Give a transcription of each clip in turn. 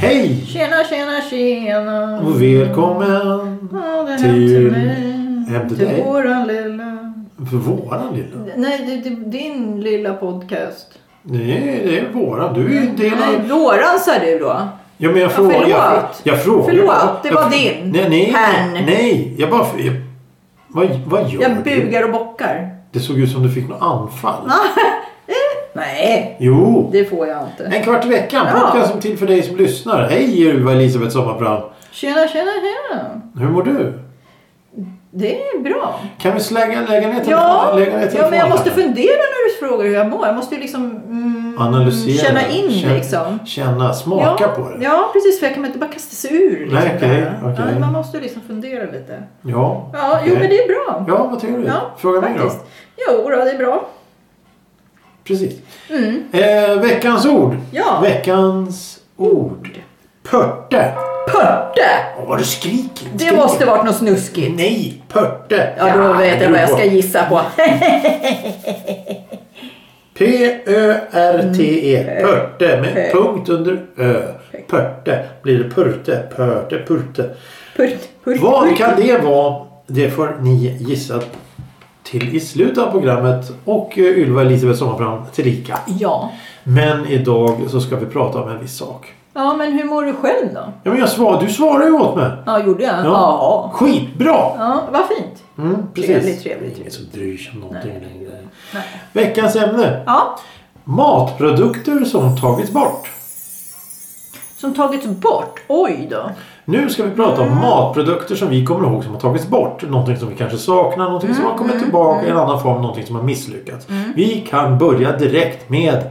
Hej Tjena, tjena, tjena. och välkommen Ja, det är till- mig. hem till till dig. våran lilla... för våran lilla. Nej, det, det, din lilla podcast. Nej, det är våran. Du är ju en del Nej, av... våran sa du då. Ja, men jag frågar. Jag, förlåt. jag frågar. Förlåt, det Jag- var din. Nej, nej. Herrn. Nej, jag bara... Jag, vad, vad gör Jag du? bugar och bockar. Det såg ut som du fick något anfall. Nej, Jo. det får jag inte. En kvart i veckan. Ja. Podcasten till för dig som lyssnar. Hej, Ruva Elisabeth Sommarbrand. Tjena, tjena, tjena. Hur mår du? Det är bra. Kan vi slägga, lägga ner Ja, lägga ner ja, men jag telefonen? måste fundera när du frågar hur jag mår. Jag måste ju liksom mm, Analysera. känna in Känn- liksom. Känna, smaka ja, på det. Ja, precis. För jag kan inte bara kasta sig ur. Liksom, Nej, okej, där. okej. Nej, man måste ju liksom fundera lite. Ja. Ja, okej. jo men det är bra. Ja, vad tycker du? Ja, Fråga mig då. faktiskt. Jo, då, det är bra. Precis. Mm. Eh, veckans ord. Ja. Veckans ord. Pörte. Pörte! Åh, vad du skriker. Det skriker. måste varit något snuskigt. Nej, pörte. Ja, då vet jag vad jag ska gissa på. Mm, P-Ö-R-T-E. Pörte med Ö. punkt under ö. Pörte. Blir det purte, pörte, purte. Purt, purt, Vad purt. kan det vara? Det får ni gissa till i slutet av programmet och eh, Ylva Elisabeth Sommarbrand tillika. Ja. Men idag så ska vi prata om en viss sak. Ja, men hur mår du själv då? Ja, men jag svar, du svarar ju åt mig. Ja, gjorde jag? Ja. Skitbra! Ja, vad fint. Mm, precis. Trevligt, trevligt, Ingen som bryr sig om någonting längre. Nej. Veckans ämne. Ja, Matprodukter som tagits bort. som tagits bort. Oj då. Nu ska vi prata om Mm. matprodukter som vi kommer ihåg som har tagits bort. Någonting som vi kanske saknar, någonting som Mm, har kommit tillbaka i en annan form, någonting som har misslyckats. Vi kan börja direkt med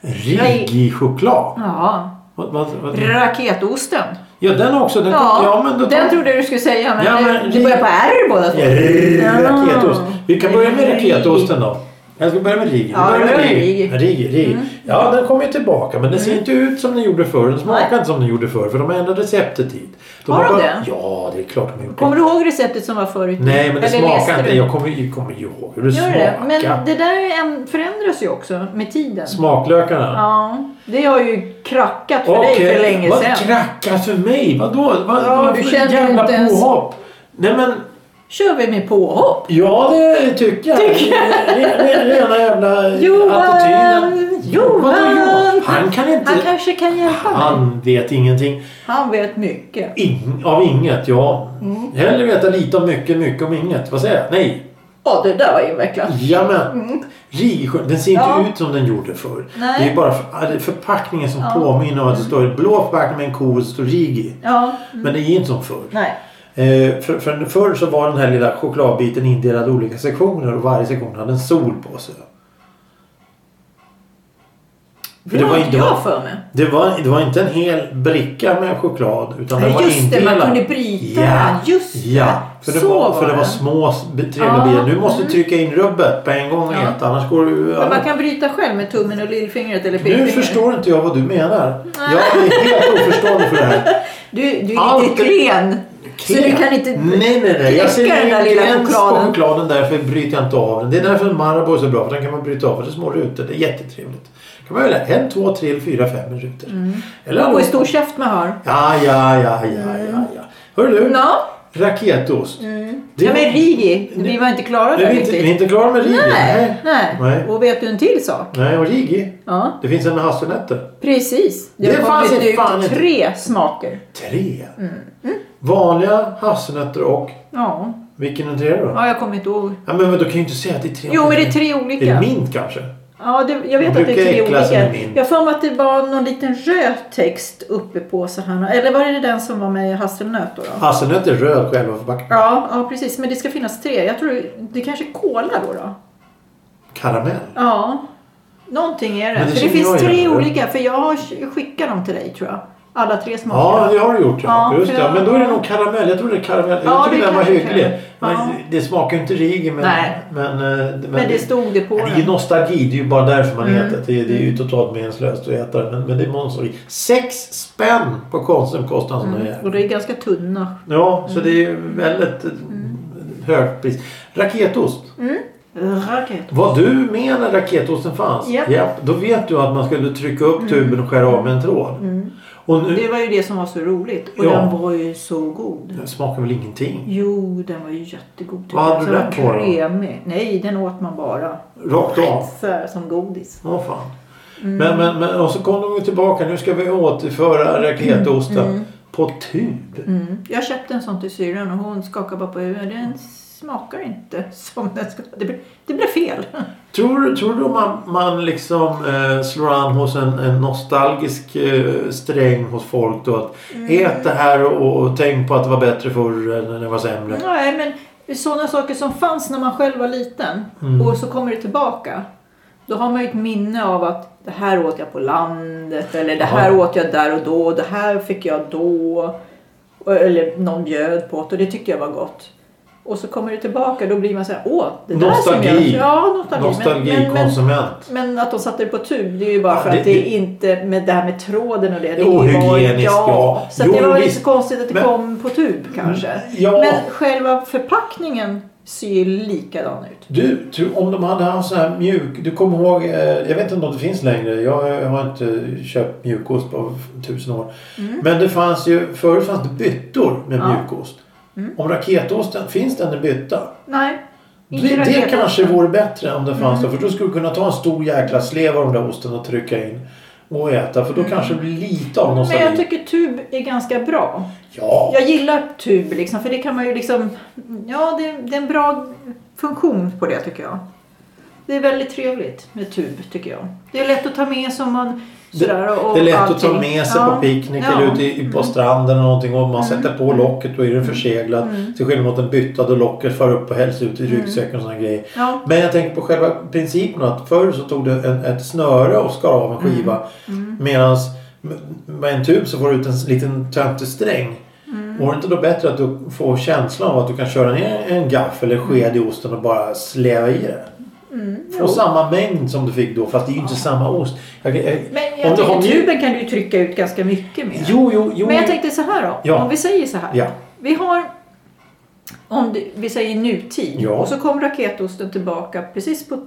Rigi-choklad. Ja. Vad- vad- vad- Raketosten. Ja, den också. Den, Ja, men då tar- den trodde jag du skulle säga. Men, Ja, men det- li- det börjar på R båda två. Ja, Raketost. Vi kan börja med raketosten då. Jag ska börja med Rigi. Vi Ja, börjar det med är Rigi. Rigi. Rigi, Rigi. Ja, den kommer ju tillbaka men den ser inte ut som den gjorde förr. Den smakar Mm. Nej. inte som den gjorde förr för de har ändrat receptet dit. Har de bara- det? Ja, det är klart de har gjort Kommer det. du ihåg receptet som var förut? Nej, men det Eller smakar läste inte. du? Jag kommer ju kommer ju ihåg hur det Gör det? smakar. Men det där är en- förändras ju också med tiden. Smaklökarna. Ja, det har ju krackat för dig Okej, för länge vad sedan. krackar för mig? Vadå? Vad, Ja, vad du för känner ju jävla inte ens- påhopp? Nej, men Kör vi med påhopp? ja, det tycker jag. Re- re- Rena jävla attityden. Johan! Vadå Johan? Johan! Han kan inte- Han kanske kan hjälpa mig. Han vet ingenting. Han vet mycket. In, av inget, ja. Hellre veta lite om mycket, mycket om inget. Vad säger jag? Nej. Ja, det där var invecklat. Jamen. Rigsjö, den ser inte Ja. ut som den gjorde förr. Nej. Det är bara för, det är förpackningen som Ja. påminner om att det står en blå förpackning med en ko och det står Rigi. Ja, Men det är inte som förr. nej. Eh, för, för, förr så var den här lilla chokladbiten indelad i olika sektioner och varje sektion hade en sol på sig. För Det, var inte jag var- för mig. Det var, det var inte en hel bricka med choklad utan den Ja, var just det, man indelad. kunde bryta. Ja, Just det. ja. För, det Så var, för var det var det. små s- b- Ja, trevliga bitar. Du måste mm. trycka in rubbet på en gång och Ja. äta annars går du... Men man kan bryta själv med tummen och lillfingret Nu eller pekfingret. förstår inte jag vad du menar. Jag är helt oförstående för det här. Du, du är Allt lite är- klen. Så du kan inte Nej, nej, nej. Jag ser knäcka den där ingen lilla gräns på chokladen. chokladen. Därför bryter jag inte av den. Det är därför Marabou är så bra. För den kan man bryta av för det är små rutor. Det är jättetrevligt. kan man välja en, två, tre, fyra, fem rutor. Eller Och hur Mm. stor Mm. käft man har. Ja, ja, ja, ja, ja, ja. Hör du? Ja. Raketost. Det- Mm. Ja men Rigi, vi var inte klara Nej, där vi, är inte, vi är riktigt. inte klara med Rigi. Nej, nej, Nej. Och vet du en till sak? Nej, och Rigi. Ja, Det finns en med hasselnötter. precis. Det, Det har fanns kommit inte fan ut inte. tre smaker. Tre. Mm. Vanliga hasselnötter och... Ja. Vilken är det då? ja, jag kommer inte ihåg. Ja, men vadå, du kan ju inte säga att det är tre. Jo, men det är tre Är det olika. mint kanske? Ja, det, jag vet De att det är brukar tre äcklas med olika. min. Jag har för mig att det var någon liten röd text uppe på så här. Eller var det den som var med i hasselnöt då? då? Hasselnötter Alltså, är röd själva förpackningen. Ja, ja, precis. Men det ska finnas tre. Jag tror det kanske är kola då. då. Karamell. Ja, någonting är det. Men det för det känner finns jag tre igen, eller? olika. För jag har sk- skickat dem till dig tror jag. Alla tre smakerna. Ja, det har du gjort. Ja. Ja, Just för det. jag- Men då är det nog karamell. Jag trodde det karamell. Ja, jag trodde det den var kanske hygglig. Men kan. Ja. Det smakar ju inte Rigi. Men, Nej. Men, eh, men det stod det på Men det är ju den. nostalgi. Det är ju bara därför man Mm. äter det. Det är ju totalt meningslöst att äta det. Men, men det är nostalgi. Sex spänn på Konsum kostar en sån här. Mm. Och det Mm. är ganska tunna. Ja, så det är ju väldigt eh, Mm. högt pris. Raketost. Raket. Var du med när raketosten fanns? Japp. Mm. Då vet du att man skulle trycka upp tuben och skära av med en tråd. Och nu Det var ju det som var så roligt. Och Ja. den var ju så god. den smakar väl ingenting? Jo, den var ju jättegod. Vad hade du Så den lagt på då? kremig. Nej, den åt man bara. Rakt av? Så här, som godis. Mm. Åh fan. Men, men, men och så kom de ju tillbaka. Nu ska vi återföra raketosten på tub. Mm. Jag köpte en sån till syrran och hon skakade bara på huvudet. Den smakar inte som den ska. Det blev, det blev fel. Tror, du- tror du man, man liksom eh, slår an hos en, en nostalgisk eh, sträng hos folk då att Mm. ät det här och, och tänk på att det var bättre förr än när det var sämre. Nej, men sådana saker som fanns när man själv var liten Mm. och så kommer det tillbaka. Då har man ju ett minne av att det här åt jag på landet eller det här Ja. åt jag där och då. Det här fick jag då. Eller någon bjöd på det och det tyckte jag var gott. Och så kommer det tillbaka då blir man så här, åh, det där som jag... Nostalgi. Ja, nostalgi. Men, men, Mm. men, Nostalgikonsument. men att de satte det på tub, det är ju bara Ja, för det- att det, det- är inte med det här med tråden och det. det är ju Ohygieniskt, bara- ja. Så att Jo, det var väl visst. inte så konstigt att det Men- kom på tub kanske. Ja. Men själva förpackningen ser ju likadan ut. Du, tror- om de hade haft så här mjuk... Du kommer ihåg... eh, Jag vet inte om det finns längre. Jag har inte eh, köpt mjukost på tusen år. Men det fanns ju... Förut fanns det byttor med Mm. Ja. Mm. mjukost. Om raketosten... Finns den i bytta? Nej. inte Det, det raketosten. Mm. kanske vore bättre om det fanns där. För då skulle du kunna ta en stor jäkla slev av den där osten och trycka in. Och äta. För då kanske det blir lite av Mm. Men jag nostalgi. tycker tub är ganska bra. Ja. Jag gillar tub liksom för det kan man ju liksom... Ja, det, det är en bra funktion på det tycker jag. Det är väldigt trevligt med tub tycker jag. Det är lätt att ta med som man... Det, Sådär, och det är lätt att ta allting. med sig Ja. på picknick Ja. Mm. eller ute i- på stranden eller någonting och man sätter på locket och är den förseglad. Mm. Till skillnad mot en bytta då locket far upp och hälls ut i ryggsäcken och såna grejer. Ja. Men jag tänker på själva principen att förr så tog du en, ett snöre och skar av en skiva. Mm. Medan med en tub så får du ut en s- liten töntig sträng. Mm. Vore det inte då bättre att du får känslan av att du kan köra ner en gaffel eller sked i osten och bara släva i det? Mm. Få samma mängd som du fick då fast det är ju inte samma ost. Jag, jag, Men jag tycker tuben kan du ju trycka ut ganska mycket mer. Jo, jo, jo. Men jag tänkte så här då. Ja. Om vi säger så här. Ja. Vi har, om det, vi säger nutid. Ja. Och så kom raketosten tillbaka precis på,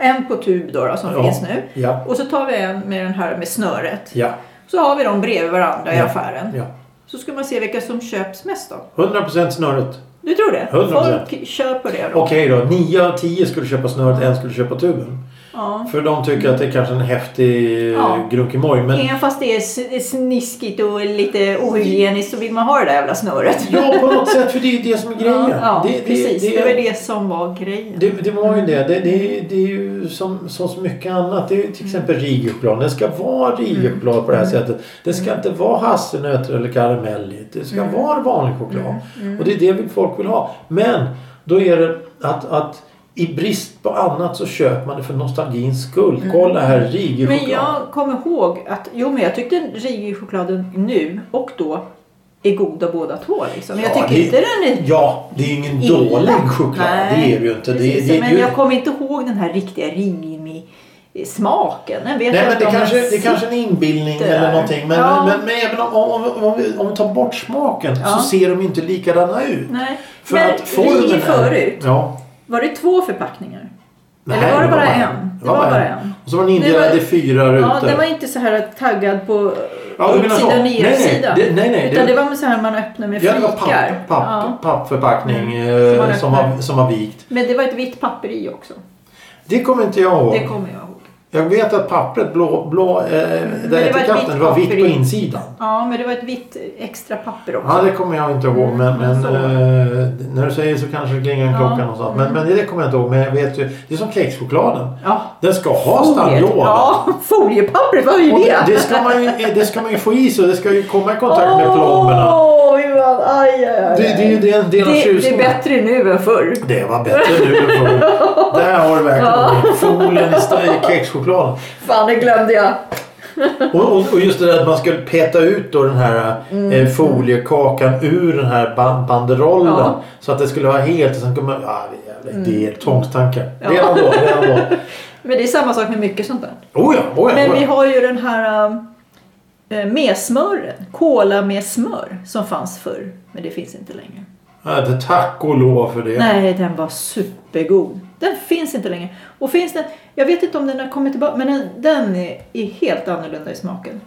en på tub då, då som Ja. finns nu. Ja. Och så tar vi en med den här med snöret. Ja. Så har vi dem bredvid varandra i Ja. affären. ja. Så ska man se vilka som köps mest då. 100% snöret. Du tror det? 100%. Folk köper det då. Okej då. 9 av 10 skulle köpa snöret, en skulle köpa tuben. Ja. För de tycker att det är kanske en häftig ja. Ja. grunkemoj. Men Även fast det är s- sniskigt och lite ohygieniskt så vill man ha det där jävla snöret. ja, på något sätt. För det är ju det som är grejen. Ja, det, det, precis. Det, Det, var det, det som var grejen. det, var ju det. Det, det, det är ju som, som så mycket annat. Det är Mm. ju till exempel Riochoklad. Den ska vara Riochoklad på det här sättet. Det ska inte vara hasselnötter eller karamell i. Det Mm. ska vara vanlig choklad. Och det är det vi- folk vill ha. Men då är det att, att i brist på annat så köper man det för nostalgins skull. Kolla här, Riochoklad. Mm. men jag kommer ihåg att jo, men jag tyckte Rigi-chokladen nu och då är god av båda två. Liksom. jag Ja, tycker det- inte den är Ja, det är ju ingen illa. dålig choklad. det är det ju inte. precis, det, det, men det, jag kommer inte ihåg den här riktiga Rimi-smaken. Den vet Nej jag men inte det om kanske, den det kanske är en inbillning sitter eller där. någonting. Men, Ja. men, men även om, om, om, om, vi, om vi tar bort smaken Ja. så ser de ju inte likadana ut. Nej. För men att formen Rigi är- förut, Ja. var det två förpackningar? Nej, Eller var det bara en? Det var bara en. Och så var den indelad Det i var- fyra Ja, rutor. den var inte så här taggad på Ja, du menar så. uppsida och Nej, nej. nedsida. Det- nej, nej, Utan det- det, var med så här man öppnar med ja, flikar. det var papp, papp, Ja. Mm. pappförpackning Som man eh, som, var, öppnar. som var vikt. Men det var ett vitt papper i också. Det kommer inte jag ihåg. Det kommer jag ihåg. Jag vet att pappret, blå, blå eh, det var där ett etiketten, vitt var vitt papper på i. insidan. Ja, men det var ett vitt extra papper också. Ja, det kommer jag inte ihåg. Men, men så. eh, när du säger så kanske det klingar en Ja. Mm. klocka någonstans. Men, men det kommer jag inte ihåg. Men jag vet ju. Det är som kexchokladen. Ja. Den ska ha stallråd. Ja, foliepappret, vad är Och det? det, det, ska man ju, det ska man ju få i sig. Det ska ju komma i kontakt med plomberna. Åh, Johan, aj, aj, Det, aj. det, är ju- det är en del av det, det är tjusningen. bättre nu än förr. Det var bättre nu än förr. Där har du verkligen folien i sta- i kexchokladen. Fan, det glömde jag. Och, och, och just det där att man skulle peta ut då den här eh, Mm. foliekakan ur den här ban- banderollen. Ja. Mm. Så att det skulle vara helt. Och sen kommer man... Ah, det är jävla idéer. Tvångstankar. Ja. Redan då. Redan då. Men det är samma sak med mycket sånt där. Oh ja, oh ja, Men oh vi ja. har ju den här äh, med smören. Cola med smör som fanns förr. Men det finns inte längre. Ah, det- Tack och lov för det. Nej, den var supergod. Den finns inte längre. Och finns den, jag vet inte om den har kommit tillbaka, men den, den är, är helt annorlunda i smaken.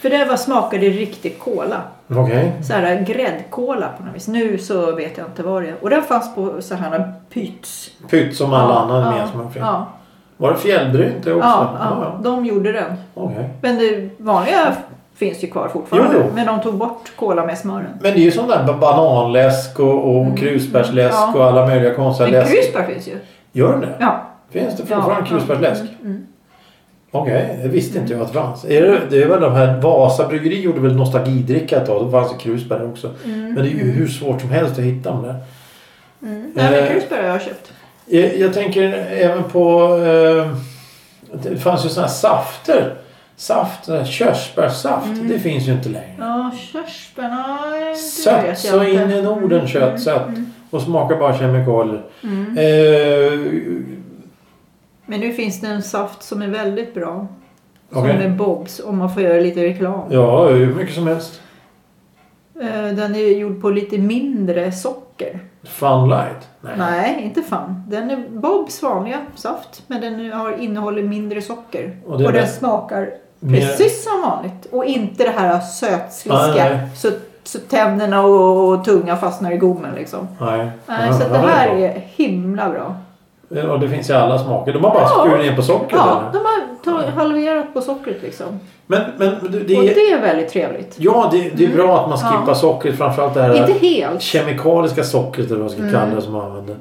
För det var smakade riktig cola. Okej. Så här gräddkola på något vis. Nu så vet jag inte vad det är. Och den fanns på så här pyts. Pytt som alla andra ja, gemensamma fel. ja, Var det fjällbrynt det ja, också? ja, ja. de gjorde den. Okej. Men det vanliga finns ju kvar fortfarande. Jo, jo. Men de tog bort kola med smören. Men det är ju sån där ba- bananläsk och, och krusbärsläsk Mm, Ja. och alla möjliga konstiga Men läsk. krusbär finns ju. Gör det? Ja. Finns det fortfarande Ja, krusbärsläsk? Mm, mm. Okej, det visste inte jag att det fanns. Är det, det är väl de här Vasa bryggeri gjorde väl nostalgidricka ett tag. Då fanns det krusbär också. Mm. Men det är ju hur svårt som helst att hitta dem där. Mm. Nej, men Eh. krusbär har jag köpt. Jag, jag tänker även på... Eh, det fanns ju såna här safter. Saft, sån här körsbärssaft. Det finns ju inte längre. Mm. Ja, körsbär. Nej, det Sött vet jag så inte. in i Norden kött sött. Och smakar bara kemikalier. Mm. Eh, Men nu finns det en saft som är väldigt bra. Som Okej. är Bobs, om man får göra lite reklam. Ja, hur mycket som helst. Eh, Den är gjord på lite mindre socker. Fun light. Nej. Nej, inte fan. Den är Bobs vanliga saft, men den har, innehåller mindre socker. Och Och, det är den bäst- smakar Mer- precis som vanligt. Och inte det här Nej, sötsliska. nej. Så, så tänderna och, och tungan fastnar i gommen liksom. Nej. Nej, Ja, så att det ja, här bra. är himla bra. Ja, Och det finns i alla smaker. De har bara Ja. skurit ner på sockret. Ja, eller? de har ta- halverat på sockret liksom. Men, men det, Och det, det är väldigt trevligt. ja, det, det är bra att man Ja. skippar sockret. Framförallt det här Inte Mm. helt. kemikaliska sockret eller vad man ska kalla det som man använder.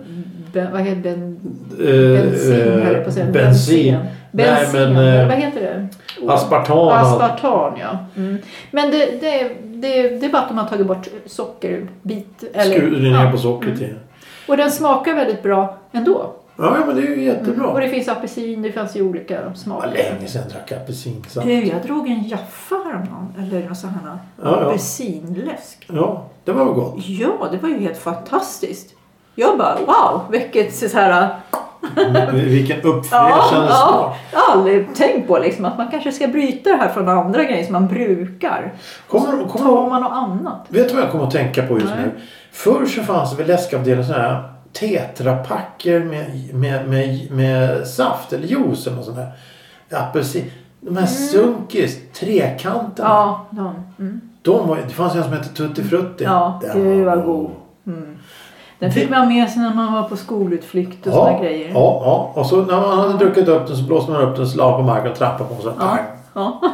Ben, vad heter ben, Eh, bensin höll jag på att säga. eh, Bensin. Nej, Bensin. men, eller eh, vad heter det? Aspartam. Aspartan, ja. Mm. Men det, det, det, det är bara att de har tagit bort sockerbit. Eller, Skurit ner ja. Mm. på sockret i. Och den smakar väldigt bra ändå. Ja, ja, men det är ju jättebra. Och det finns apelsin, det finns ju olika Det smaker. var länge sedan jag drack apelsinsaft. Du, jag drog en Jaffa häromdagen. Eller någon sån här Ja, ja. apelsinläsk. Ja, det var väl gott. Ja, det var ju helt fantastiskt. Jag bara wow, vilket så här... Vilken Ja, uppfräschande smak. ja, jag har aldrig tänkt på liksom, att man kanske ska bryta det här från andra grejer som man brukar. Kommer, Så kommer, tar du- man något annat. vet du vad jag kommer att tänka på just Nej. nu? Förr så fanns det väl läskavdelningen sådana här tetrapacker med, med, med, med saft eller juice eller något sånt där. Apelsin. De här sunkis, trekanterna. Mm. Ja, de, mm. De var, det fanns en som hette Tutti Frutti. ja Den gud vad god. Mm. Den fick man med sig när man var på skolutflykt och såna Ja, grejer. ja, ja. Och så när man hade druckit upp den så blåste man upp den, så la på marken och trampade på den. Så här, Ja, pang. ja.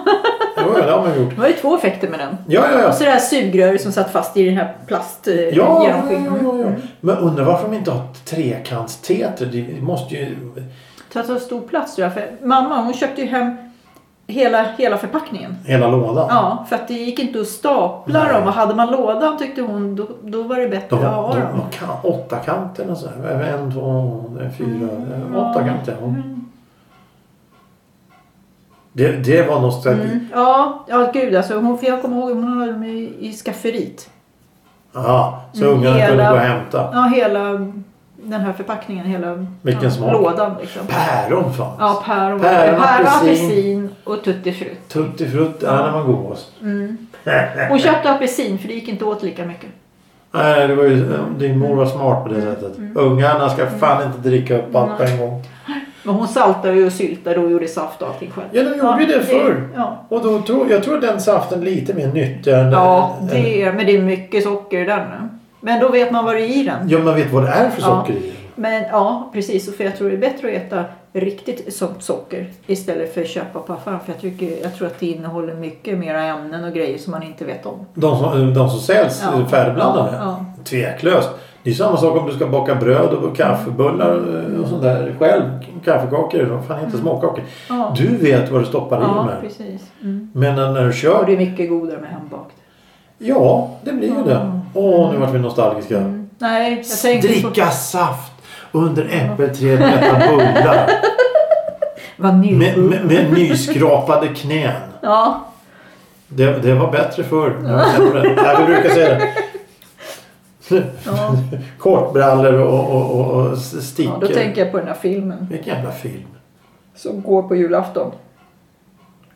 Det var ju det har man gjort. Det var ju två effekter med den. Ja, ja, Och ja. så det här sugröret som satt fast i den här plast eh, Ja, ja, genomskinliga. ja, ja, ja. Men undrar varför de inte har trekantsteter. Det måste ju... Ta så stor plats tror jag. För mamma hon köpte ju hem hela, hela förpackningen. Hela lådan. Ja, för att det gick inte att stapla Nej. dem. Och hade man lådan tyckte hon då, då var det bättre De, att ha de, dem. de kan, åtta kanterna så här. En, två, tre, fyra, Mm, eh, åtta kanter. Ja. Det, det var nostalgi. Mm. Ja, ja gud alltså. Hon, för jag kommer ihåg hon hade dem i, i skafferiet. Aha, så Mm, ungarna kunde hela- gå och hämta. Ja, hela den här förpackningen. Hela Vilken ja, smak. lådan liksom. Päron fanns. Ja, Päron, päron, päron, päron apelsin. apelsin och tutti frutti. Tutti frutti. Ja, när man gås. Mm. Hon köpte apelsin för det gick inte åt lika mycket. Nej, det var ju, eh, din mor var smart på det Mm, sättet. Ungarna ska fan inte dricka upp allt på en gång. Men hon saltade ju och syltade och gjorde saft och allting själv. Ja, de gjorde ju det förr. Ja, Och då tror, jag tror att den saften är lite mer nyttig än... ja än- det är, men det är mycket socker i den. nu. Men då vet man vad det är i den. Ja, man vet vad det är för Ja. socker i. Men ja, precis. Och För jag tror det är bättre att äta riktigt sånt socker istället för att köpa på affären. För jag, tycker, jag tror att det innehåller mycket mera ämnen och grejer som man inte vet om. De som, de som säljs Ja. är färdigblandade? Ja, Tveklöst. Det är samma sak om du ska baka bröd och kaffebullar eh, och sånt där själv. Kaffekakor, vad fan heter småkakor. ja. Du vet vad du stoppar i Mm. ja med. precis. Mm. Men när när du Och kör, det är mycket godare med hembakt. ja det blir ju det. Åh, nu vart vi nostalgiska. Mm. Nej, jag tänkte på Dricka saft under äppelträdet och äta bullar. Med, vaniljbullar. med, med nyskrapade knän. Ja, Det, det var bättre förr. när vi sämre. Nej, vi brukar säga det. ja. Kortbrallor och, och, och, och stickor. ja då tänker jag på den här filmen Vilken jävla film. som går på julafton.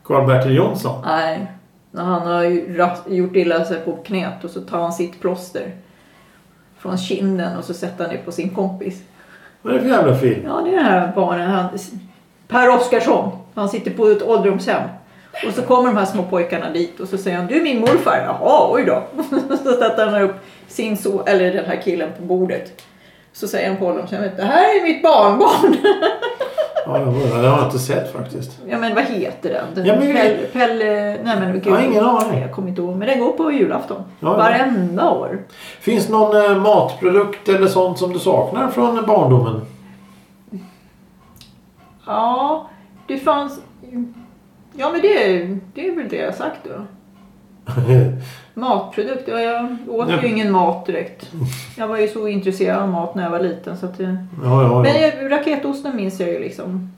Karl-Bertil Jonsson. Nej, när han har ju ras- gjort illa sig på knät och så tar han sitt plåster från kinden och så sätter han det på sin kompis. Vad är det för jävla film? Ja, det är den här barnen. Han, per Oscarsson. Han sitter på ett ålderdomshem. Och så kommer de här små pojkarna dit och så säger han Du är min morfar. Jaha, oj då. Så sätter han upp sin so, eller den här killen på bordet. Så säger han på ålderdomshemmet Det här är mitt barnbarn. Ja, jag undrar. Den har jag inte sett faktiskt. Ja men vad heter den? den Ja, men- Pelle, Pelle... Nej men gud. Jag har ingen aning. Nej, jag kommer inte ihåg. Men den går på julafton. Ja, ja. Varenda år. Finns någon eh, matprodukt eller sånt som du saknar från barndomen? Ja, det fanns... Ja men det, det är väl det jag har sagt då. Matprodukter? Ja, Jag åt Ja. ju ingen mat direkt. Jag var ju så intresserad av mat när jag var liten. Så att det... Ja, ja, ja. Men jag, raketosten minns jag ju liksom.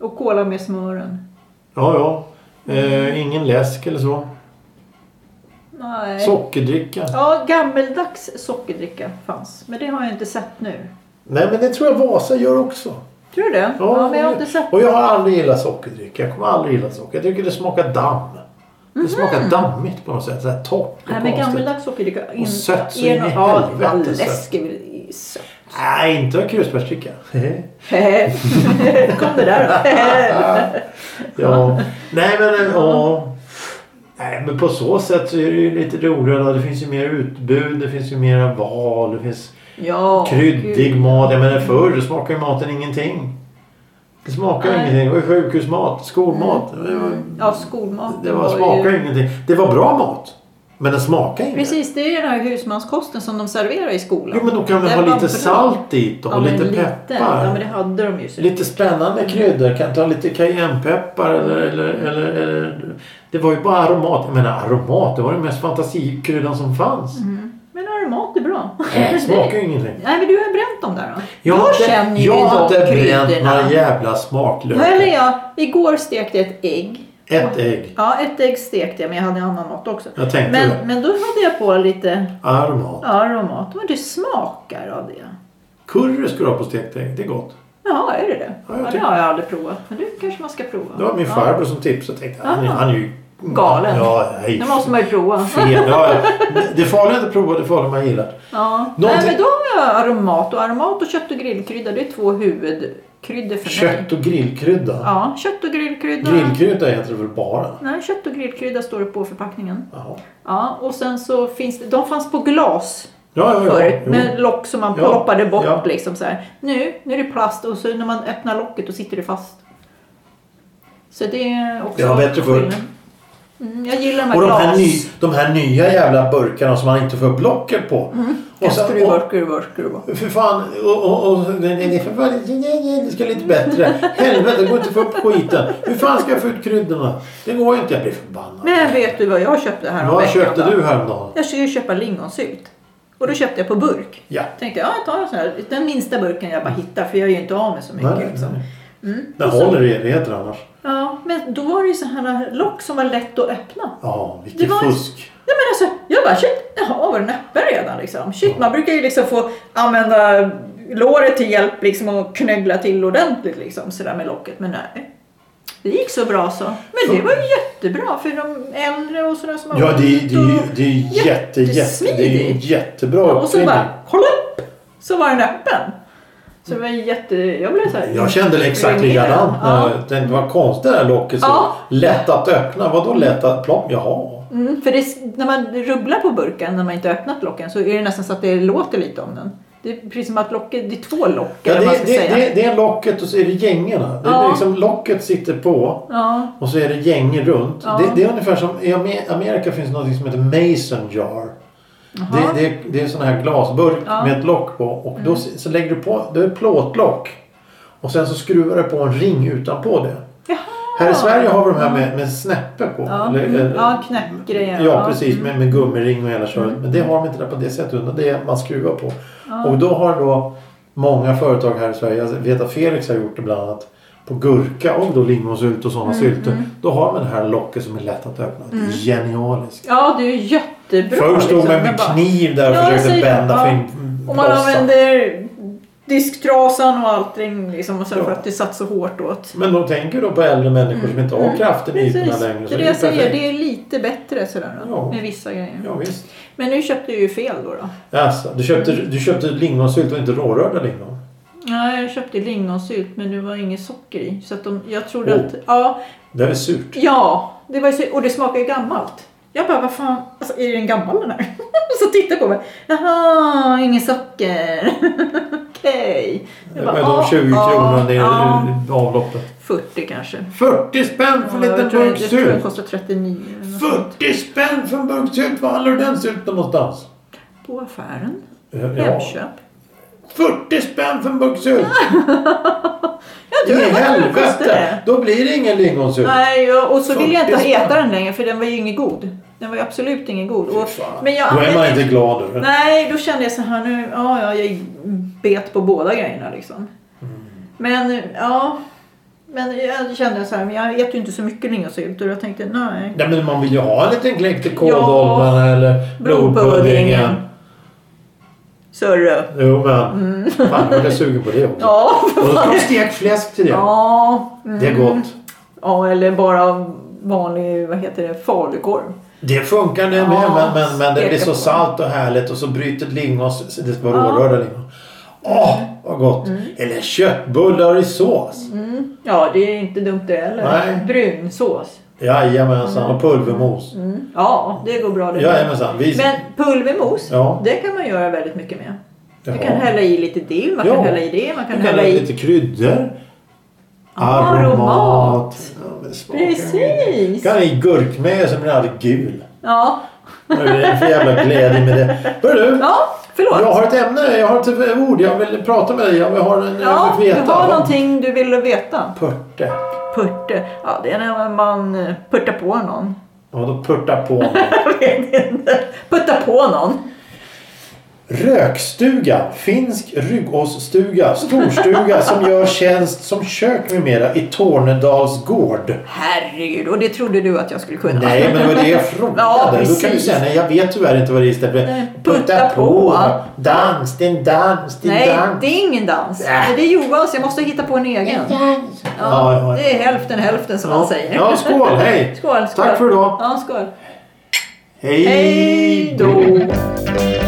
Och kola med smören. ja, ja. Eh, ingen läsk eller så. Nej. Sockerdricka. Ja, gammeldags sockerdricka fanns. Men det har jag inte sett nu. Nej, men det tror jag Vasa gör också. Tror du det? Ja, men jag har inte sett. Och jag har aldrig gillat sockerdricka. Jag kommer aldrig gilla socker. Jag tycker det smakar damm. Det smakar dammigt på något sätt. Så här torrt och Mhm. Nej, men konstigt. gammeldags sockerdricka. in- sött så in ger i någon- Ja, helvete vad sött. läsk är väl sött. Nej, inte krusbärsdricka. Kom det där. ja. Nej, men eh, ja. Nej, men på så sätt så är det ju lite roligare. Det finns ju mer utbud. Det finns ju mera val. Det finns ja, kryddig gud. mat. Jag menar förr smakade ju maten ingenting. Det smakade Nej. ingenting. Det var ju sjukhusmat, skolmat. Det var, Ja, skolmaten det var, var ju... smakade ingenting. Det var bra mat. Men den smakade ingenting. Precis, det är ju den här husmanskosten som de serverar i skolan. Jo men då kan vi Den ha var lite bra. salt dit då, Ja, och men lite lite. Ja, men peppar. det hade de ju. säkert. Lite spännande Mm. kryddor. Kan ta lite cayennepeppar eller, eller, eller, eller... Det var ju bara aromat. Jag menar aromat, det var den mest fantasikryddan som fanns. Men aromat Mm. är bra. Det smakar ju ingenting. Nej, men du har bränt dem där då. Jag, har jag inte- känner ju jag har de inte bränt några kryddorna. jävla smaklökar. Eller jag, igår stekte jag ett ägg. Ett ägg. Ja, ett ägg stekte jag, men jag hade annan mat också. Jag tänkte det. Men, men då hade jag på lite Aromat. aromat. Men det smakar av det. Curry skulle du ha på stekt ägg. Det är gott. Jaha, är det det? Ja, Ja, jag det tycker- har jag aldrig provat. Men det kanske man ska prova. Det var min Ja. farbror som tipsade. Jag tänkte, han, är- Ah. han är ju... Galen. Ja, nej. Det måste man ju prova. Fel. Ja, ja. Det är farligt att prova, det är farligt man gillar. Ja. Någonting- Nej, men då har jag aromat. Och aromat och kött och grillkrydda, det är två huvudkryddor för mig. Kött och grillkrydda. Ja, kött och grillkrydda. Grillkrydda heter det väl bara? Nej, kött och grillkrydda står det på förpackningen. Jaha. Ja, och sen så finns det, de fanns på glas Ja, ja, ja. förut Jo. med lock som man Ja, ploppade bort ja. liksom så här. Nu, nu är det plast och så när man öppnar locket då sitter det fast. Så det är också... Det var bättre förr. skillnad. Mm, jag gillar de här Och de glas. här, ny, de här nya jävla burkarna som man inte får upp locket på. Mm. Och sen, och, Skruvor, skruvor, skruvor. för fan, och, och, och det, det, det, för fan, det- det- det- det ska lite bättre. Helvete, det går inte att få upp skiten. Hur fan ska jag få ut kryddorna? Det går ju inte, jag blir förbannad. Men vet du vad jag köpte här om Vad veckan köpte då? du häromdagen? Jag skulle ju köpa lingonsylt. Och då köpte jag på burk. Ja. Tänkte jag, ja, jag tar en sån här, den minsta burken jag bara hittar för jag är ju inte av med så mycket. Nej, liksom. Mm. Den Och så- håller i evigheter annars. Ja, men då var det ju så här lock som var lätt att öppna. Ja, vilket Det var- fusk. Ja, men alltså, jag bara shit, jaha var den öppen redan liksom? Shit, man brukar ju liksom få använda låret till hjälp liksom och knöggla till ordentligt liksom sådär med locket. Men nej, det gick så bra så. Men det var ju jättebra för de äldre och sådär som har Ja, det, är- ont det, är- och- det är jätte, jätte, det är en Jättesmidigt. jättebra Och så uppfinning. bara upp så var den öppen. Så det var jätte, jag blev såhär. Jag kände det exakt likadant. Ja. Ja. Det var konstigt det där locket. Så Ja. Lätt att öppna. Vadå lätt att plom? Jaha. Mm, för det, när man rubblar på burken när man inte har öppnat locken så är det nästan så att det låter lite om den. Det är precis som att locket, det är två lock Ja, eller vad man det, ska det, säga. det, det är locket och så är det gängorna. Det är Ja. liksom locket sitter på Ja, och så är det gängor runt. Ja. Det, det är ungefär som i Amer- Amerika finns något som heter mason jar. Jaha. Det, det, det är sån här glasburk Ja. Mm. med ett lock på och då s- så lägger du på, det är plåtlock. Och sen så skruvar du på en ring utanpå det. Jaha. Här i Sverige har vi de här med, med snäppe på. ja. Eller- Mm. eller- ja Mm. knäppgrejer. eh, Ja, precis. Med, med gummiring och hela köret. Men det har de inte där på det sättet. Utan det är man skruvar på. alltså, Och då har då många företag här i Sverige, jag vet att Felix har gjort det bland annat. på gurka och då lingonsylt och Mm, sådana sylter. Då har man det här locket som är lätt att öppna. Det är Genialiskt. Ja, Mm. det är ju jättebra. Förr stod liksom. man med Men bara- kniv där och Ja, försökte säg det. bända för Ja. in Och man blåsa. använder disktrasan och allting liksom, och så Ja. för att det satt så hårt åt. Men de tänker då på äldre människor som inte har kraften i ytorna Mm, Precis, längre. så det är det ju jag säger. perfekt. Det är lite bättre sådär då, Ja. med vissa grejer. Ja, visst. Men nu köpte du ju fel då. då. Alltså, du, köpte, du köpte lingonsylt och inte rårörda lingon? Nej, jag köpte lingonsylt men det var inget socker i. Så att de, jag trodde Oh. att... Ja, Det är väl surt? ja det var ju så, och det smakar ju gammalt. Jag bara, vad fan, alltså, är den gammal den här? så tittar jag på mig. Jaha, inget socker. Okej. Det Jag var bara, de ja, 20 ja, kronorna i ja. avloppet. 40 kanske. 40 spänn för en Ja, liten jag tror, jag burk tror den sylt! kostar 39 eller något sånt. 40 spänn för en burk sylt! Var handlar du den sylten någonstans? På affären. Eh, Ja. Hemköp. 40 spänn för en burk sylt! I tror det var det det helvete! kostade. Då blir det ingen lingonsylt. Nej, och och så vill jag inte 40 äta spänn. den längre för den var ju ingen god. Den var ju absolut ingen god. Och, Fan. men jag Då är man använde- inte glad över det. Nej, då kände jag så här nu, ja, ja jag bet på båda grejerna liksom. Men ja, men jag kände så här, men jag äter ju inte så mycket lingonsylt och jag tänkte nej. Nej men man vill ju ha en liten knäck till Ja. kåldolmarna eller blodpuddingen. Sörre. Jo men. Fan, jag blev sugen på det också. Och Mm. Ja, för så ska fan. de stekt fläsk till det. Ja, mm. Det är gott. ja, eller bara vanlig, vad heter det, falukorv. Det funkar det Ja, med men, men, men det blir steka så på. salt och härligt och så bryter lingon, så det var Ja. Mm. rårörda lingon. Åh, vad gott! Eller köttbullar i sås. Ja, det är inte dumt det heller. Nej. Brunsås. Jajamensan, och pulvermos. Mm. Ja, det går bra det. med. Jajamensan. Vi... Men pulvermos, Ja. det kan man göra väldigt mycket med. Du Jaha. kan hälla i lite dill, man Ja. kan hälla i det, man kan Du kan hälla lägga i... lite kryddor. Aromat. Ja, men det smakar ju gott. Du Precis! kan ha i gurkmeja så blir den aldrig gul. Ja, Vad är det för jävla glädje med det? Hörru! ja förlåt. Jag har ett ämne, jag har ett ord. Jag vill prata med dig. Jag har en... ja, jag vill veta. du har någonting du vill veta. Pörte. Purte, ja det är när man eh, puttar på någon. Ja, då purta på mig. Jag vet inte. Putta på någon. Rökstuga, finsk ryggåsstuga, storstuga som gör tjänst som kök med mera i Tornedals gård. Herregud, och det trodde du att jag skulle kunna. Nej, men det var det jag frågade. Ja, Då kan du precis. säga nej, jag vet tyvärr inte vad det är istället Nej, för putta putta på. på. Dans, din dans, din Nej, dans. det är ingen dans. Äh. Det är Johans, jag måste hitta på en egen. Ja, ja, ja. Ja, det är hälften hälften som ja. man säger. ja, skål, hej! Skål, skål. Tack för idag. Ja, skål. Hej Hej då!